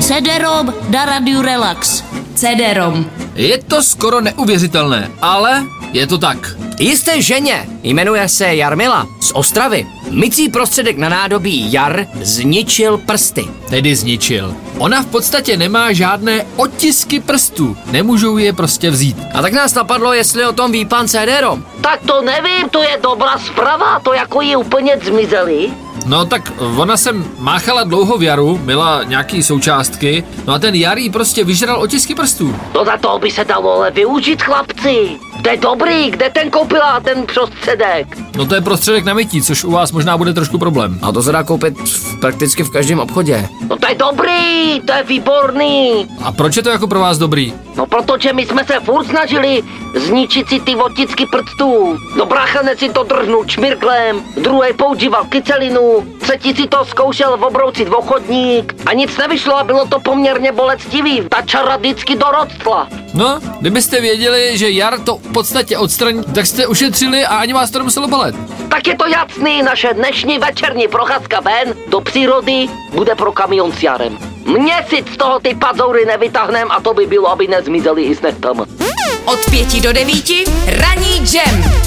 CD-ROM na Radiu Relax. CD-ROM. Je to skoro neuvěřitelné, ale je to tak. Jisté ženě, jmenuje se Jarmila z Ostravy. Mycí prostředek na nádobí Jar zničil prsty. Tedy zničil. Ona v podstatě nemá žádné otisky prstů. Nemůžou je prostě vzít. A tak nás napadlo, jestli o tom ví pan CD-ROM. Tak to nevím, to je dobrá zpráva, to jako ji úplně zmizeli. No tak ona sem máchala dlouho v jaru, měla nějaký součástky, no a ten jar jí prostě vyžral otisky prstů. No za to by se dalo ale využít, chlapci. To je dobrý, kde ten koupila ten prostředek? No to je prostředek na mytí, což u vás možná bude trošku problém. A to se dá koupit v, prakticky v každém obchodě. No to je dobrý, to je výborný. A proč je to jako pro vás dobrý? No protože my jsme se furt snažili zničit si ty otisky prstů. No bráchanec si to drhnul čmirklem, druhý používal kycelinu, třetí si to zkoušel obroucit v ochotník a nic nevyšlo a bylo to poměrně bolestivý. Ta čara vždycky dorostla. No, kdybyste věděli, že jar to v podstatě odstraní, tak jste ušetřili a ani vás to nemuselo bolet. Tak je to jasný, naše dnešní večerní procházka ven do přírody bude pro kamion s jarem. Měsíc z toho ty pazoury nevytáhnem a to by bylo, aby nezmizeli i s nechtama. Od pěti do devíti ranní jam.